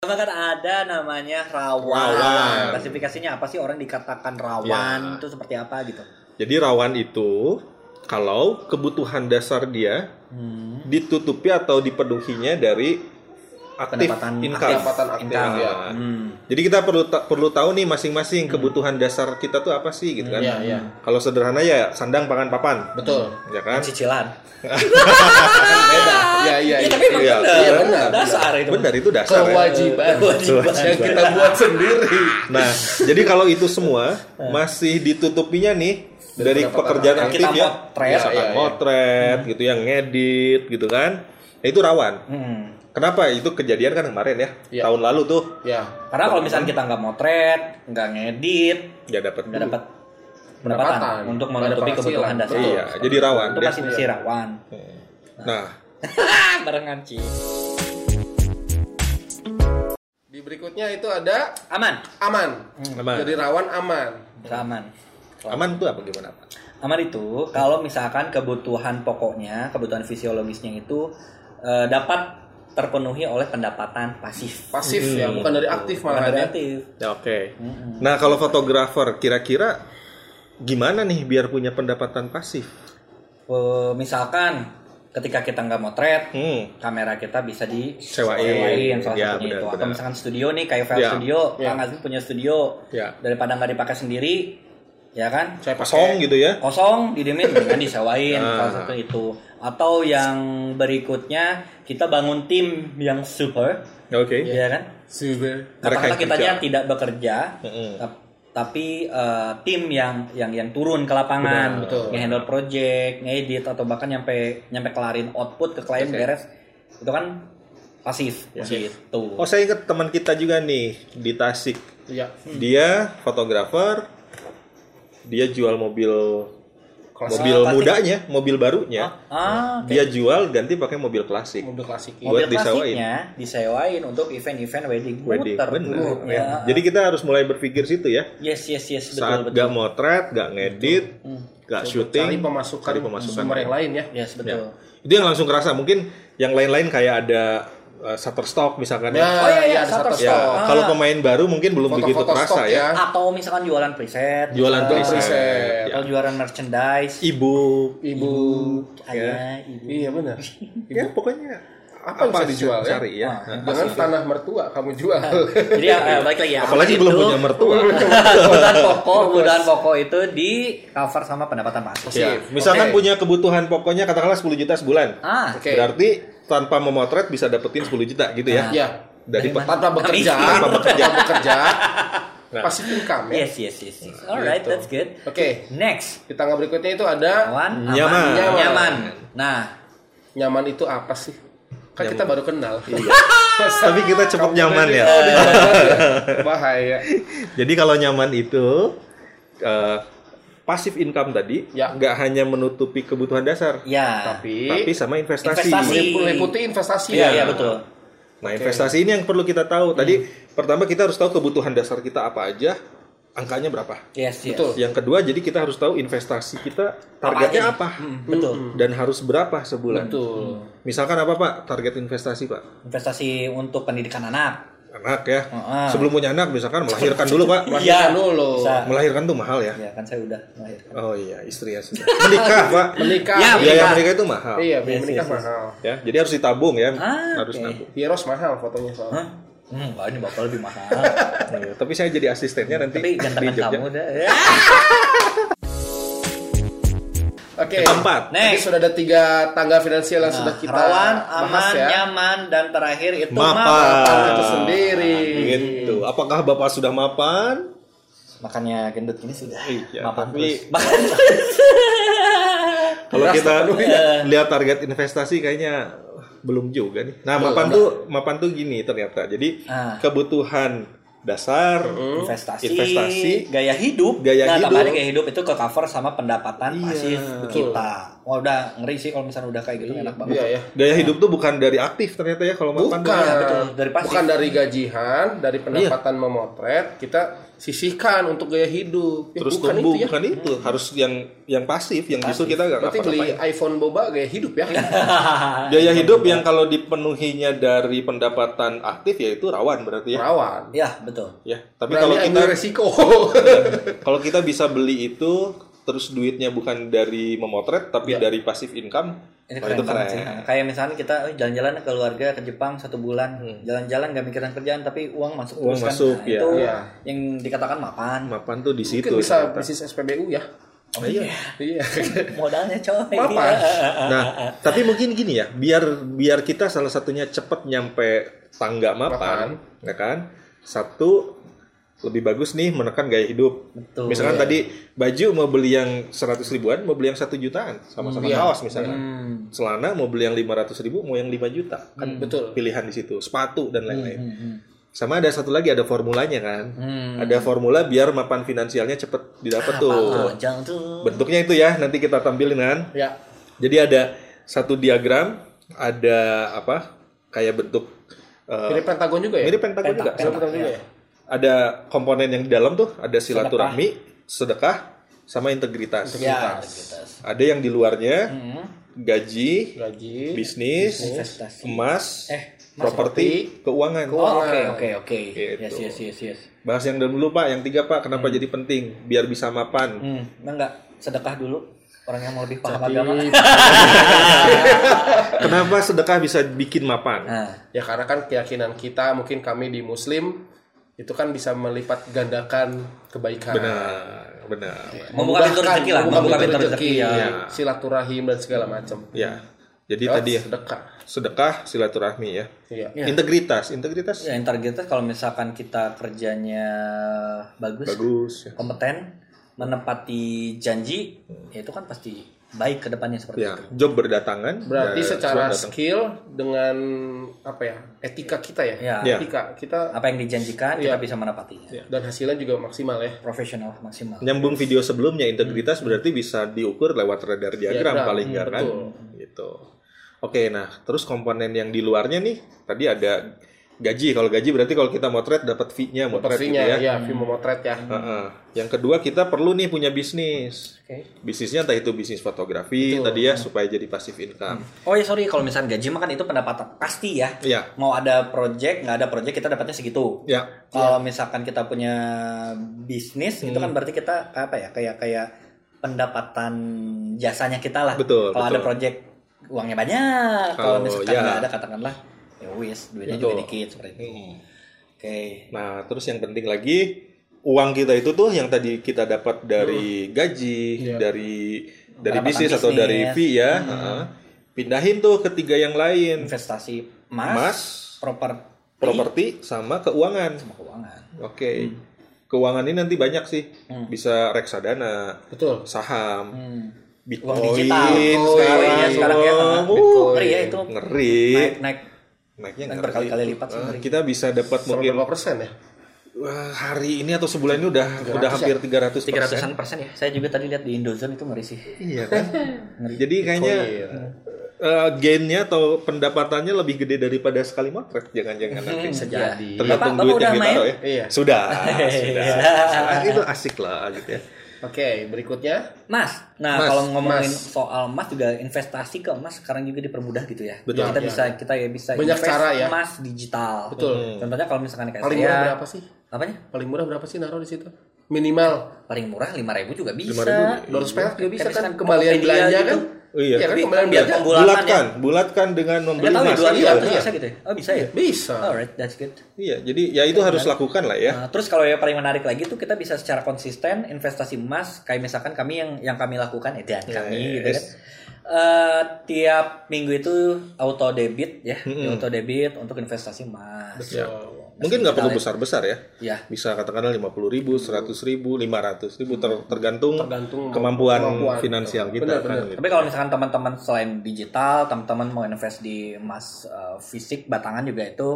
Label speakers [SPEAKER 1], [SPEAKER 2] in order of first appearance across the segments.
[SPEAKER 1] pertama kan ada namanya rawan.
[SPEAKER 2] Rawan. Ya.
[SPEAKER 1] Klasifikasinya apa sih orang dikatakan rawan itu seperti apa gitu?
[SPEAKER 2] Jadi rawan itu kalau kebutuhan dasar dia
[SPEAKER 1] Hmm.
[SPEAKER 2] ditutupi atau dipenuhinya dari aktif
[SPEAKER 1] Pendapatan
[SPEAKER 2] income. Nah,
[SPEAKER 1] aktif.
[SPEAKER 3] Pendapatan aktif,
[SPEAKER 1] Income.
[SPEAKER 3] ya.
[SPEAKER 1] Hmm.
[SPEAKER 2] Jadi kita perlu ta- perlu tahu nih masing-masing kebutuhan dasar kita tuh apa sih gitu kan.
[SPEAKER 3] Iya, iya.
[SPEAKER 2] Kalau sederhana ya sandang pangan papan,
[SPEAKER 3] Betul.
[SPEAKER 2] ya kan?
[SPEAKER 1] Cicilan.
[SPEAKER 3] Kan beda. Iya, iya,
[SPEAKER 1] Iya,
[SPEAKER 3] iya.
[SPEAKER 1] tapi emang
[SPEAKER 2] iya,
[SPEAKER 1] benar.
[SPEAKER 3] iya, benar,
[SPEAKER 1] Dasar itu.
[SPEAKER 2] Benar itu dasar. ya.
[SPEAKER 3] Kewajiban.
[SPEAKER 1] Kewajiban.
[SPEAKER 3] Yang kita buat sendiri.
[SPEAKER 2] Nah, jadi kalau itu semua masih ditutupinya nih dari
[SPEAKER 3] pendapatan.
[SPEAKER 2] pekerjaan
[SPEAKER 1] Yang
[SPEAKER 2] aktif
[SPEAKER 1] kita
[SPEAKER 2] ya,
[SPEAKER 1] motret.
[SPEAKER 2] misalkan
[SPEAKER 3] Iya, iya, iya.
[SPEAKER 2] motret gitu, yang ngedit gitu kan, Nah, itu rawan.
[SPEAKER 1] Hmm.
[SPEAKER 2] Kenapa? Itu kejadian kan kemarin ya,
[SPEAKER 3] Iya.
[SPEAKER 2] tahun lalu tuh
[SPEAKER 3] Ya.
[SPEAKER 1] Karena kalau misalnya kita nggak motret, nggak ngedit,
[SPEAKER 2] nggak dapat.
[SPEAKER 1] nggak dapat
[SPEAKER 3] Pendapatan.
[SPEAKER 1] pendapatan untuk
[SPEAKER 3] Nggak ada
[SPEAKER 1] menutupi
[SPEAKER 3] penghasilan.
[SPEAKER 1] kebutuhan dasar.
[SPEAKER 3] Betul.
[SPEAKER 2] Iya, jadi rawan.
[SPEAKER 1] Itu
[SPEAKER 2] deh.
[SPEAKER 1] masih masih rawan.
[SPEAKER 2] Nah,
[SPEAKER 1] Ah, barengan Ci.
[SPEAKER 3] Di berikutnya itu ada
[SPEAKER 1] Aman.
[SPEAKER 3] aman.
[SPEAKER 2] aman.
[SPEAKER 3] Jadi rawan aman.
[SPEAKER 1] Aman.
[SPEAKER 2] Nah, aman tuh apa gimana? Pak?
[SPEAKER 1] Aman itu kalau misalkan kebutuhan pokoknya, kebutuhan fisiologisnya itu eh, dapat terpenuhi oleh pendapatan pasif. Hmm.
[SPEAKER 3] Pasif ya, bukan dari aktif
[SPEAKER 1] Bukan
[SPEAKER 3] malah
[SPEAKER 1] dari
[SPEAKER 3] ya.
[SPEAKER 1] aktif.
[SPEAKER 2] Ya, Oke. Nah, kalau fotografer kira-kira gimana nih biar punya pendapatan pasif?
[SPEAKER 1] Eh, misalkan ketika kita nggak motret,
[SPEAKER 2] Hmm.
[SPEAKER 1] kamera kita bisa disewain
[SPEAKER 2] Sewain.
[SPEAKER 1] salah
[SPEAKER 2] Ya,
[SPEAKER 1] satunya
[SPEAKER 2] benar,
[SPEAKER 1] itu. Atau
[SPEAKER 2] benar.
[SPEAKER 1] misalkan studio nih kayak file
[SPEAKER 2] Ya,
[SPEAKER 1] studio,
[SPEAKER 3] ya.
[SPEAKER 1] Kang Aziz punya studio
[SPEAKER 2] Ya.
[SPEAKER 1] daripada nggak dipakai sendiri, ya kan?
[SPEAKER 3] Saya
[SPEAKER 2] Kosong gitu ya?
[SPEAKER 1] Kosong didemin dengan disewain
[SPEAKER 2] Ah.
[SPEAKER 1] salah satu itu. Atau yang berikutnya kita bangun tim yang super,
[SPEAKER 2] Oke.
[SPEAKER 1] ya kan?
[SPEAKER 3] Silver.
[SPEAKER 2] Iya. Mereka
[SPEAKER 1] Katakanlah
[SPEAKER 2] yang
[SPEAKER 1] kitanya
[SPEAKER 2] kerja.
[SPEAKER 1] tidak bekerja,
[SPEAKER 2] Mm-mm.
[SPEAKER 1] tap- tapi eh, tim yang yang yang turun ke lapangan,
[SPEAKER 3] betul.
[SPEAKER 1] ngehandle project, ngedit atau bahkan nyampe nyampe kelarin output ke klien beres, itu kan pasif gitu.
[SPEAKER 2] Oh, saya ingat teman kita juga nih di Tasik.
[SPEAKER 3] Iya.
[SPEAKER 2] Hmm. dia fotografer dia jual mobil mobil
[SPEAKER 1] klasik.
[SPEAKER 2] mudanya mobil barunya
[SPEAKER 1] Ah,
[SPEAKER 2] dia jual ganti pakai mobil klasik
[SPEAKER 3] Mobil klasik.
[SPEAKER 1] mobil
[SPEAKER 2] Buat disewain.
[SPEAKER 1] klasiknya disewain untuk event-event wedding,
[SPEAKER 2] wedding
[SPEAKER 1] muter
[SPEAKER 2] bener
[SPEAKER 1] dulu,
[SPEAKER 2] ya.
[SPEAKER 1] ya.
[SPEAKER 2] jadi kita harus mulai berpikir situ ya
[SPEAKER 1] yes yes yes betul
[SPEAKER 2] saat
[SPEAKER 1] betul.
[SPEAKER 2] gak motret gak ngedit gak syuting
[SPEAKER 3] Cari pemasukan,
[SPEAKER 2] cari pemasukan.
[SPEAKER 3] sumber yang lain ya.
[SPEAKER 1] Yes betul.
[SPEAKER 2] Ya. itu yang langsung kerasa mungkin yang lain-lain kayak ada uh, Shutterstock misalkan ya,
[SPEAKER 1] Oh, iya, iya,
[SPEAKER 3] ada
[SPEAKER 1] satu
[SPEAKER 3] satu
[SPEAKER 2] Ya,
[SPEAKER 1] stok. Ah.
[SPEAKER 2] kalau pemain baru mungkin belum begitu
[SPEAKER 3] Foto-foto
[SPEAKER 2] kerasa
[SPEAKER 3] stok
[SPEAKER 2] ya.
[SPEAKER 3] ya.
[SPEAKER 1] Atau misalkan jualan preset,
[SPEAKER 2] jualan
[SPEAKER 1] atau-
[SPEAKER 2] preset,
[SPEAKER 3] preset.
[SPEAKER 2] ya.
[SPEAKER 1] atau jualan merchandise,
[SPEAKER 2] ibu
[SPEAKER 3] Ibu.
[SPEAKER 1] ada ibu.
[SPEAKER 3] Iya benar.
[SPEAKER 2] ya pokoknya
[SPEAKER 3] Apa yang bisa dijual ya?
[SPEAKER 2] cari ya
[SPEAKER 1] Ah.
[SPEAKER 3] Jangan tanah mertua kamu jual.
[SPEAKER 1] Jadi ya, balik lagi ya.
[SPEAKER 2] apalagi
[SPEAKER 1] aman
[SPEAKER 2] belum
[SPEAKER 1] itu,
[SPEAKER 2] punya mertua
[SPEAKER 1] kebutuhan pokok, kebutuhan pokok itu di cover sama pendapatan pasif.
[SPEAKER 2] Ya,
[SPEAKER 3] Oke.
[SPEAKER 2] misalkan punya kebutuhan pokoknya katakanlah 10 juta sebulan.
[SPEAKER 1] Ah,
[SPEAKER 3] Oke.
[SPEAKER 2] Berarti tanpa memotret bisa dapetin 10 juta gitu ya.
[SPEAKER 3] Iya.
[SPEAKER 2] Dari
[SPEAKER 1] Dari
[SPEAKER 2] pe-
[SPEAKER 1] mana?
[SPEAKER 3] Tanpa bekerja,
[SPEAKER 1] Kami-
[SPEAKER 3] tanpa bekerja, tanpa bekerja.
[SPEAKER 2] Nah.
[SPEAKER 3] Pasif income ya.
[SPEAKER 1] yes, yes, yes. yes. Alright,
[SPEAKER 3] Gitu.
[SPEAKER 1] that's good.
[SPEAKER 3] Oke.
[SPEAKER 1] Next,
[SPEAKER 3] Di tanggal berikutnya itu ada
[SPEAKER 1] kawan, aman,
[SPEAKER 2] Nyaman.
[SPEAKER 1] nyaman.
[SPEAKER 3] Nyaman.
[SPEAKER 1] Nah,
[SPEAKER 3] nyaman itu apa sih? Kan kita baru kenal.
[SPEAKER 2] Tapi kita cepat nyaman ya.
[SPEAKER 3] Bahaya.
[SPEAKER 2] Jadi kalau nyaman itu eh pasif income tadi
[SPEAKER 3] Ya.
[SPEAKER 2] nggak hanya menutupi kebutuhan dasar,
[SPEAKER 1] ya.
[SPEAKER 2] tapi
[SPEAKER 3] Tapi
[SPEAKER 2] sama investasi.
[SPEAKER 1] Investasi.
[SPEAKER 3] meliputi investasi
[SPEAKER 1] Iya,
[SPEAKER 3] ya.
[SPEAKER 1] iya betul.
[SPEAKER 2] Nah, investasi ini yang perlu kita tahu. Tadi pertama kita harus tahu kebutuhan dasar kita apa aja, angkanya berapa.
[SPEAKER 1] Yes, yes.
[SPEAKER 3] Betul.
[SPEAKER 2] Yang kedua, jadi kita harus tahu investasi kita
[SPEAKER 1] aja
[SPEAKER 2] targetnya
[SPEAKER 1] nih?
[SPEAKER 2] apa,
[SPEAKER 1] Mm, betul.
[SPEAKER 2] dan harus berapa sebulan.
[SPEAKER 3] Betul.
[SPEAKER 2] Misalkan apa Pak target investasi Pak?
[SPEAKER 1] Investasi untuk pendidikan anak.
[SPEAKER 2] Anak ya.
[SPEAKER 1] Heeh.
[SPEAKER 2] Sebelum punya anak misalkan melahirkan dulu Pak.
[SPEAKER 3] Iya dulu.
[SPEAKER 1] Bisa.
[SPEAKER 2] Melahirkan tuh mahal ya.
[SPEAKER 1] Ya, kan saya udah melahirkan.
[SPEAKER 2] Oh iya istri ya. sudah. Menikah Pak.
[SPEAKER 3] Menikah.
[SPEAKER 1] Ya,
[SPEAKER 2] Biaya
[SPEAKER 1] menikah.
[SPEAKER 2] menikah itu mahal.
[SPEAKER 3] Iya, biaya
[SPEAKER 1] Yes,
[SPEAKER 3] menikah
[SPEAKER 1] yes, yes.
[SPEAKER 3] mahal.
[SPEAKER 2] Ya, jadi harus ditabung ya.
[SPEAKER 1] Ah,
[SPEAKER 2] harus
[SPEAKER 1] oke.
[SPEAKER 2] nabung.
[SPEAKER 3] Heroes mahal fotonya soalnya.
[SPEAKER 1] Hah? Hmm, wah, ini bakal lebih mahal.
[SPEAKER 2] Iya, tapi saya jadi asistennya nanti
[SPEAKER 1] Tapi gantengan kamu dah. Ya.
[SPEAKER 3] Oke.
[SPEAKER 2] Keempat.
[SPEAKER 3] Tadi
[SPEAKER 1] Next. Nah,
[SPEAKER 3] sudah ada tiga tangga finansial yang sudah kita
[SPEAKER 1] Rawan,
[SPEAKER 3] bahas
[SPEAKER 1] aman,
[SPEAKER 3] ya.
[SPEAKER 1] nyaman, dan terakhir itu
[SPEAKER 2] Mapan.
[SPEAKER 1] mapan.
[SPEAKER 3] Mapan itu sendiri.
[SPEAKER 2] Gitu. Apakah Bapak sudah mapan?
[SPEAKER 1] Makanya gendut ini sudah
[SPEAKER 2] Iya,
[SPEAKER 1] mapan
[SPEAKER 2] tapi-
[SPEAKER 1] terus. ya. Makan
[SPEAKER 2] Kalau
[SPEAKER 3] Beras
[SPEAKER 2] kita
[SPEAKER 3] terpenuhi.
[SPEAKER 1] iya.
[SPEAKER 2] lihat target investasi kayaknya belum juga nih. Nah, mapan tuh mapan tuh gini ternyata.
[SPEAKER 1] iya.
[SPEAKER 2] Jadi
[SPEAKER 1] Ah. Hmm.
[SPEAKER 2] kebutuhan dasar,
[SPEAKER 1] investasi,
[SPEAKER 2] Investasi.
[SPEAKER 1] gaya hidup.
[SPEAKER 2] Gaya
[SPEAKER 1] nah,
[SPEAKER 2] hidup.
[SPEAKER 1] tambahannya gaya hidup itu ke cover sama pendapatan
[SPEAKER 2] Iya,
[SPEAKER 1] pasif
[SPEAKER 3] betul.
[SPEAKER 1] kita. Wah, udah ngeri sih kalau misalnya udah kayak gitu enak banget.
[SPEAKER 3] Iya ya.
[SPEAKER 2] gaya hidup tuh bukan dari aktif ternyata ya kalau mapan.
[SPEAKER 3] Bukan,
[SPEAKER 1] Iya, betul. Dari pasif.
[SPEAKER 3] bukan dari gajian, dari pendapatan memotret kita sisihkan untuk gaya hidup. Ya,
[SPEAKER 2] Terus
[SPEAKER 3] bukan
[SPEAKER 2] tumbuh,
[SPEAKER 3] itu ya.
[SPEAKER 2] bukan itu. Harus yang yang pasif, yang justru kita nggak
[SPEAKER 3] Berarti beli Iya,
[SPEAKER 2] ngapa-ngapain.
[SPEAKER 3] iPhone boba gaya hidup ya.
[SPEAKER 1] Iya.
[SPEAKER 2] Gaya hidup yang kalau dipenuhinya dari pendapatan aktif ya itu rawan berarti ya.
[SPEAKER 3] Rawan.
[SPEAKER 1] ya, betul.
[SPEAKER 2] Ya, tapi
[SPEAKER 3] Berani
[SPEAKER 2] kalau kita
[SPEAKER 3] ambil resiko.
[SPEAKER 2] kalau kita bisa beli itu terus duitnya bukan dari memotret tapi
[SPEAKER 3] Iya.
[SPEAKER 2] dari pasif income,
[SPEAKER 1] Ini
[SPEAKER 2] wah,
[SPEAKER 1] keren,
[SPEAKER 2] Oh, itu
[SPEAKER 1] banget
[SPEAKER 2] keren.
[SPEAKER 1] sih. Kayak misalnya kita eh, jalan-jalan ke keluarga ke Jepang satu bulan, jalan-jalan gak mikiran kerjaan tapi uang masuk
[SPEAKER 2] Hmm. Uang
[SPEAKER 1] terus kan.
[SPEAKER 2] masuk,
[SPEAKER 1] Nah,
[SPEAKER 2] ya.
[SPEAKER 1] Itu
[SPEAKER 3] Iya.
[SPEAKER 1] yang dikatakan mapan.
[SPEAKER 2] Mapan tuh di situ.
[SPEAKER 3] Mungkin bisa
[SPEAKER 2] Gitu, ternyata. Hmm.
[SPEAKER 3] bisnis SPBU ya.
[SPEAKER 1] Oh iya.
[SPEAKER 3] Iya.
[SPEAKER 1] Modalnya coy. Iya.
[SPEAKER 3] Mapan.
[SPEAKER 1] Eh,
[SPEAKER 2] Nah, tapi mungkin gini ya, biar biar kita salah satunya cepet nyampe tangga mapan, ya kan? Satu lebih bagus nih menekan gaya hidup.
[SPEAKER 1] Betul. Iya.
[SPEAKER 2] Misalkan tadi baju mau beli yang 100 ribuan, mau beli yang satu jutaan, sama-sama
[SPEAKER 3] Iya.
[SPEAKER 2] kaos misalnya.
[SPEAKER 1] Hmm.
[SPEAKER 2] Celana mau beli yang 500 ribu, mau yang 5 juta. Kan
[SPEAKER 3] Betul.
[SPEAKER 2] pilihan di situ, sepatu dan lain-lain.
[SPEAKER 1] Hmm, hmm.
[SPEAKER 2] Sama ada satu lagi ada formulanya kan.
[SPEAKER 1] Hmm.
[SPEAKER 2] Ada formula biar mapan finansialnya cepet didapat tuh.
[SPEAKER 1] Oh, jangan tuh.
[SPEAKER 2] Bentuknya itu ya, nanti kita tampilin kan.
[SPEAKER 3] Ya.
[SPEAKER 2] Jadi ada satu diagram, ada apa? Kayak bentuk eh,
[SPEAKER 3] Mirip Pentagon juga ya.
[SPEAKER 2] mirip Iya. pentagon juga.
[SPEAKER 3] Pentagon juga ya.
[SPEAKER 2] Ada komponen yang di dalam tuh, ada silaturahmi, sedekah, sama integritas.
[SPEAKER 1] Ya, integritas.
[SPEAKER 2] Ada yang di luarnya
[SPEAKER 1] Hmm.
[SPEAKER 2] gaji,
[SPEAKER 3] Gaji.
[SPEAKER 2] bisnis,
[SPEAKER 1] Investasi.
[SPEAKER 2] emas,
[SPEAKER 1] Eh,
[SPEAKER 2] properti, keuangan.
[SPEAKER 1] Oh, oke oke oke.
[SPEAKER 2] Gitu.
[SPEAKER 1] Yes yes yes yes.
[SPEAKER 2] Bahas yang dulu Pak, yang tiga Pak, kenapa jadi penting? Biar bisa mapan.
[SPEAKER 1] Hmm, nah enggak sedekah dulu orang yang mau lebih paham agama.
[SPEAKER 2] Kenapa sedekah bisa bikin mapan?
[SPEAKER 1] Nah,
[SPEAKER 3] Ya karena kan keyakinan kita mungkin kami di Muslim itu kan bisa melipat gandakan kebaikan. Ya.
[SPEAKER 2] Benar, benar.
[SPEAKER 1] membuka pintu
[SPEAKER 3] Memudahkan,
[SPEAKER 1] rezeki lah, membuka pintu rezeki ya.
[SPEAKER 3] ya. Silaturahim dan segala macam.
[SPEAKER 2] Ya. Jadi
[SPEAKER 3] Lewat
[SPEAKER 2] tadi ya,
[SPEAKER 3] sedekah.
[SPEAKER 2] sedekah, silaturahmi ya.
[SPEAKER 3] Iya.
[SPEAKER 1] Iya.
[SPEAKER 2] Integritas, integritas
[SPEAKER 1] Ya, yang targetnya kalau misalkan kita kerjanya bagus,
[SPEAKER 2] bagus. Ya.
[SPEAKER 1] kompeten, menepati janji, ya itu kan pasti baik ke depannya seperti
[SPEAKER 2] Hmm. Ya,
[SPEAKER 1] itu.
[SPEAKER 2] job berdatangan.
[SPEAKER 3] Berarti
[SPEAKER 2] ya,
[SPEAKER 3] secara
[SPEAKER 2] job datang.
[SPEAKER 3] skill dengan apa ya? Etika kita ya.
[SPEAKER 1] Ya.
[SPEAKER 2] Iya.
[SPEAKER 3] Etika kita
[SPEAKER 1] Apa yang dijanjikan
[SPEAKER 2] Ya.
[SPEAKER 1] kita
[SPEAKER 3] Iya.
[SPEAKER 1] bisa menepatinya.
[SPEAKER 3] dan hasilnya juga maksimal ya.
[SPEAKER 1] Profesional maksimal.
[SPEAKER 2] nyambung video sebelumnya integritas berarti bisa diukur lewat radar diagram
[SPEAKER 3] Diagram,
[SPEAKER 2] paling enggak kan?
[SPEAKER 3] betul.
[SPEAKER 2] Gitu. Oke, nah terus komponen yang di luarnya nih tadi ada gaji. Kalau gaji berarti kalau kita motret dapat fee-nya, motret gitu ya.
[SPEAKER 3] Pastinya
[SPEAKER 2] Hmm.
[SPEAKER 3] ya, film memotret ya.
[SPEAKER 2] Heeh. Yang kedua kita perlu nih punya bisnis.
[SPEAKER 1] Oke.
[SPEAKER 2] Bisnisnya entah itu bisnis fotografi tadi ya supaya jadi passive income.
[SPEAKER 1] Oh ya sorry kalau misalnya gaji makan itu pendapatan pasti ya.
[SPEAKER 2] Iya.
[SPEAKER 1] Mau ada project nggak ada project kita dapatnya segitu.
[SPEAKER 2] Ya,
[SPEAKER 1] Kalau misalkan kita punya bisnis itu
[SPEAKER 2] Hmm.
[SPEAKER 1] kan berarti kita apa ya kayak kayak pendapatan jasanya kita lah.
[SPEAKER 2] Betul,
[SPEAKER 1] Kalau ada
[SPEAKER 2] betul.
[SPEAKER 1] project uangnya banyak. Kalau
[SPEAKER 2] Kalau-
[SPEAKER 1] misalkan
[SPEAKER 2] ya.
[SPEAKER 1] nggak ada katakanlah ya wis duitnya
[SPEAKER 2] Betul. Hmm.
[SPEAKER 1] juga dikit seperti itu. Oke.
[SPEAKER 2] Nah, terus yang penting lagi uang kita itu tuh yang tadi kita dapat dari gaji, dari
[SPEAKER 1] Iya.
[SPEAKER 2] dari
[SPEAKER 1] Pendapatan
[SPEAKER 2] bisnis atau
[SPEAKER 1] bisnis. Hmm.
[SPEAKER 2] dari fee ya. heeh. Pindahin tuh ketiga yang lain.
[SPEAKER 1] Investasi emas,
[SPEAKER 2] Emas,
[SPEAKER 1] properti,
[SPEAKER 2] properti sama keuangan.
[SPEAKER 1] sama keuangan.
[SPEAKER 2] Oke.
[SPEAKER 1] Hmm.
[SPEAKER 2] Keuangan ini nanti banyak sih. Bisa reksadana,
[SPEAKER 3] Betul.
[SPEAKER 2] saham,
[SPEAKER 1] Hmm.
[SPEAKER 2] Bitcoin
[SPEAKER 1] Uang digital. Bitcoinnya
[SPEAKER 2] Oh, iya, sekarang. Iya.
[SPEAKER 1] sekarang ya. heeh.
[SPEAKER 2] Uh,
[SPEAKER 1] Ngeri ya itu.
[SPEAKER 2] Ngeri.
[SPEAKER 1] Naik naik
[SPEAKER 2] Naiknya
[SPEAKER 1] naik
[SPEAKER 2] ngeri.
[SPEAKER 1] berkali-kali lipat sih,
[SPEAKER 2] Eh,
[SPEAKER 1] ngeri.
[SPEAKER 2] kita bisa dapat
[SPEAKER 3] Sama
[SPEAKER 2] mungkin
[SPEAKER 3] berapa persen ya?
[SPEAKER 2] Wah, hari ini atau sebulan ini udah udah hampir 300
[SPEAKER 1] ya. tiga ratusan persen ya. Saya juga tadi lihat di Indozone itu ngeri sih.
[SPEAKER 2] Iya kan? Jadi kayaknya eh, gainnya atau pendapatannya lebih gede daripada sekali motret jangan-jangan nanti
[SPEAKER 1] Sejadi. Hmm, iya.
[SPEAKER 2] tergantung
[SPEAKER 1] Bapak,
[SPEAKER 2] duit
[SPEAKER 1] Bapak
[SPEAKER 2] yang
[SPEAKER 1] udah
[SPEAKER 2] kita
[SPEAKER 1] main?
[SPEAKER 2] taruh ya.
[SPEAKER 3] Iya.
[SPEAKER 2] Sudah, sudah. Nah, itu asik lah gitu ya.
[SPEAKER 3] Oke, berikutnya
[SPEAKER 1] Mas, nah
[SPEAKER 2] Mas,
[SPEAKER 1] kalau ngomongin
[SPEAKER 3] mas.
[SPEAKER 1] soal emas juga investasi ke emas sekarang juga dipermudah gitu ya.
[SPEAKER 2] Betul.
[SPEAKER 1] Kita
[SPEAKER 3] Iya.
[SPEAKER 1] bisa kita ya bisa
[SPEAKER 3] Banyak
[SPEAKER 1] invest
[SPEAKER 3] cara ya.
[SPEAKER 1] emas digital.
[SPEAKER 3] Betul.
[SPEAKER 1] Hmm. Contohnya kalau misalkan kayak
[SPEAKER 3] paling
[SPEAKER 1] saya,
[SPEAKER 3] murah berapa sih?
[SPEAKER 1] apanya?
[SPEAKER 3] Paling murah berapa sih naruh di situ? Minimal
[SPEAKER 1] Paling murah lima ribu juga bisa.
[SPEAKER 2] 5.000.
[SPEAKER 3] 200 perak juga bisa
[SPEAKER 1] Kayak
[SPEAKER 3] kan
[SPEAKER 1] misalkan
[SPEAKER 3] kembalian
[SPEAKER 1] Tokopedia
[SPEAKER 3] belanja
[SPEAKER 1] gitu.
[SPEAKER 3] kan?
[SPEAKER 2] Oh, iya.
[SPEAKER 3] kan
[SPEAKER 1] Tapi
[SPEAKER 3] kembalian
[SPEAKER 1] biar
[SPEAKER 3] belanja.
[SPEAKER 1] Bulatan
[SPEAKER 2] bulatkan, bulatkan dengan
[SPEAKER 1] ya? Nggak
[SPEAKER 2] membeli
[SPEAKER 1] tahu ya
[SPEAKER 2] emas.
[SPEAKER 1] dua
[SPEAKER 2] Iya,
[SPEAKER 1] ratus
[SPEAKER 2] iya.
[SPEAKER 1] bisa gitu ya? Oh bisa ya?
[SPEAKER 3] Bisa.
[SPEAKER 1] Alright, that's good.
[SPEAKER 2] Iya, jadi ya itu harus lakukan lah ya.
[SPEAKER 1] Nah, terus kalau yang paling menarik lagi tuh kita bisa secara konsisten investasi emas kayak misalkan kami yang yang kami lakukan ya dan kami
[SPEAKER 2] Ya, ya,
[SPEAKER 1] gitu
[SPEAKER 2] yes.
[SPEAKER 1] kan. Eh, tiap minggu itu auto debit ya, di auto debit untuk investasi emas.
[SPEAKER 2] Ya. Mungkin nggak perlu besar-besar ya.
[SPEAKER 1] Ya.
[SPEAKER 2] Bisa katakanlah 50 ribu,
[SPEAKER 1] Hmm.
[SPEAKER 2] 100 ribu, 500 ribu ter- tergantung,
[SPEAKER 3] Tergantung
[SPEAKER 2] kemampuan,
[SPEAKER 3] kemampuan.
[SPEAKER 2] finansial kita
[SPEAKER 3] Benar,
[SPEAKER 2] kan,
[SPEAKER 3] benar.
[SPEAKER 2] gitu.
[SPEAKER 1] Tapi kalau misalkan teman-teman selain digital, teman-teman mau invest di emas eh, fisik batangan juga itu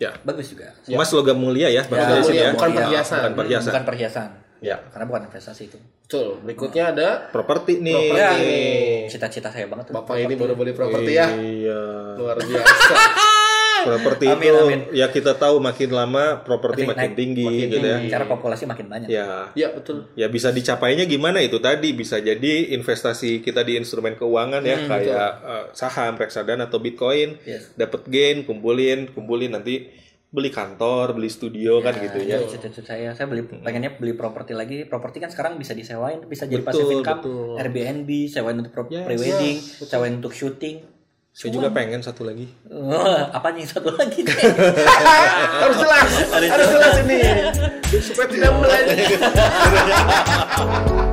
[SPEAKER 2] Ya.
[SPEAKER 1] Bagus juga.
[SPEAKER 2] Emas logam mulia ya, Bang
[SPEAKER 1] Ya,
[SPEAKER 2] dari
[SPEAKER 1] mulia,
[SPEAKER 2] sini ya.
[SPEAKER 3] bukan
[SPEAKER 1] Iya.
[SPEAKER 3] perhiasan.
[SPEAKER 2] Bukan perhiasan.
[SPEAKER 1] Bukan perhiasan.
[SPEAKER 2] Ya.
[SPEAKER 1] Karena bukan investasi itu.
[SPEAKER 3] Betul. Berikutnya ada
[SPEAKER 2] Properti nih.
[SPEAKER 1] Ya,
[SPEAKER 3] Properti.
[SPEAKER 1] cita-cita saya banget tuh.
[SPEAKER 3] Bapak ini baru beli properti ya.
[SPEAKER 2] Iya.
[SPEAKER 3] Luar biasa.
[SPEAKER 2] Properti
[SPEAKER 1] Amin,
[SPEAKER 2] itu
[SPEAKER 1] amin.
[SPEAKER 2] ya kita tahu makin lama properti
[SPEAKER 1] Makin
[SPEAKER 2] makin
[SPEAKER 1] naik,
[SPEAKER 2] tinggi gitu ya.
[SPEAKER 1] Cara populasi makin banyak.
[SPEAKER 2] Ya.
[SPEAKER 3] ya betul.
[SPEAKER 2] Ya bisa dicapainya gimana itu tadi bisa jadi investasi kita di instrumen keuangan ya kayak eh, saham, reksadana atau bitcoin
[SPEAKER 1] Yes.
[SPEAKER 2] dapat gain, kumpulin, kumpulin nanti beli kantor, beli studio kan gitu ya.
[SPEAKER 1] Itu cita-cita Iya, saya. Saya beli pengennya beli properti lagi. Properti kan sekarang bisa disewain, bisa jadi passive
[SPEAKER 2] Betul,
[SPEAKER 1] income,
[SPEAKER 2] betul.
[SPEAKER 1] Airbnb, sewain untuk pro- pre-wedding, sewain untuk syuting.
[SPEAKER 2] Saya juga pengen satu lagi.
[SPEAKER 1] Apanya yang satu lagi?
[SPEAKER 3] harus jelas. Harus jelas ini. Supaya tidak melenceng.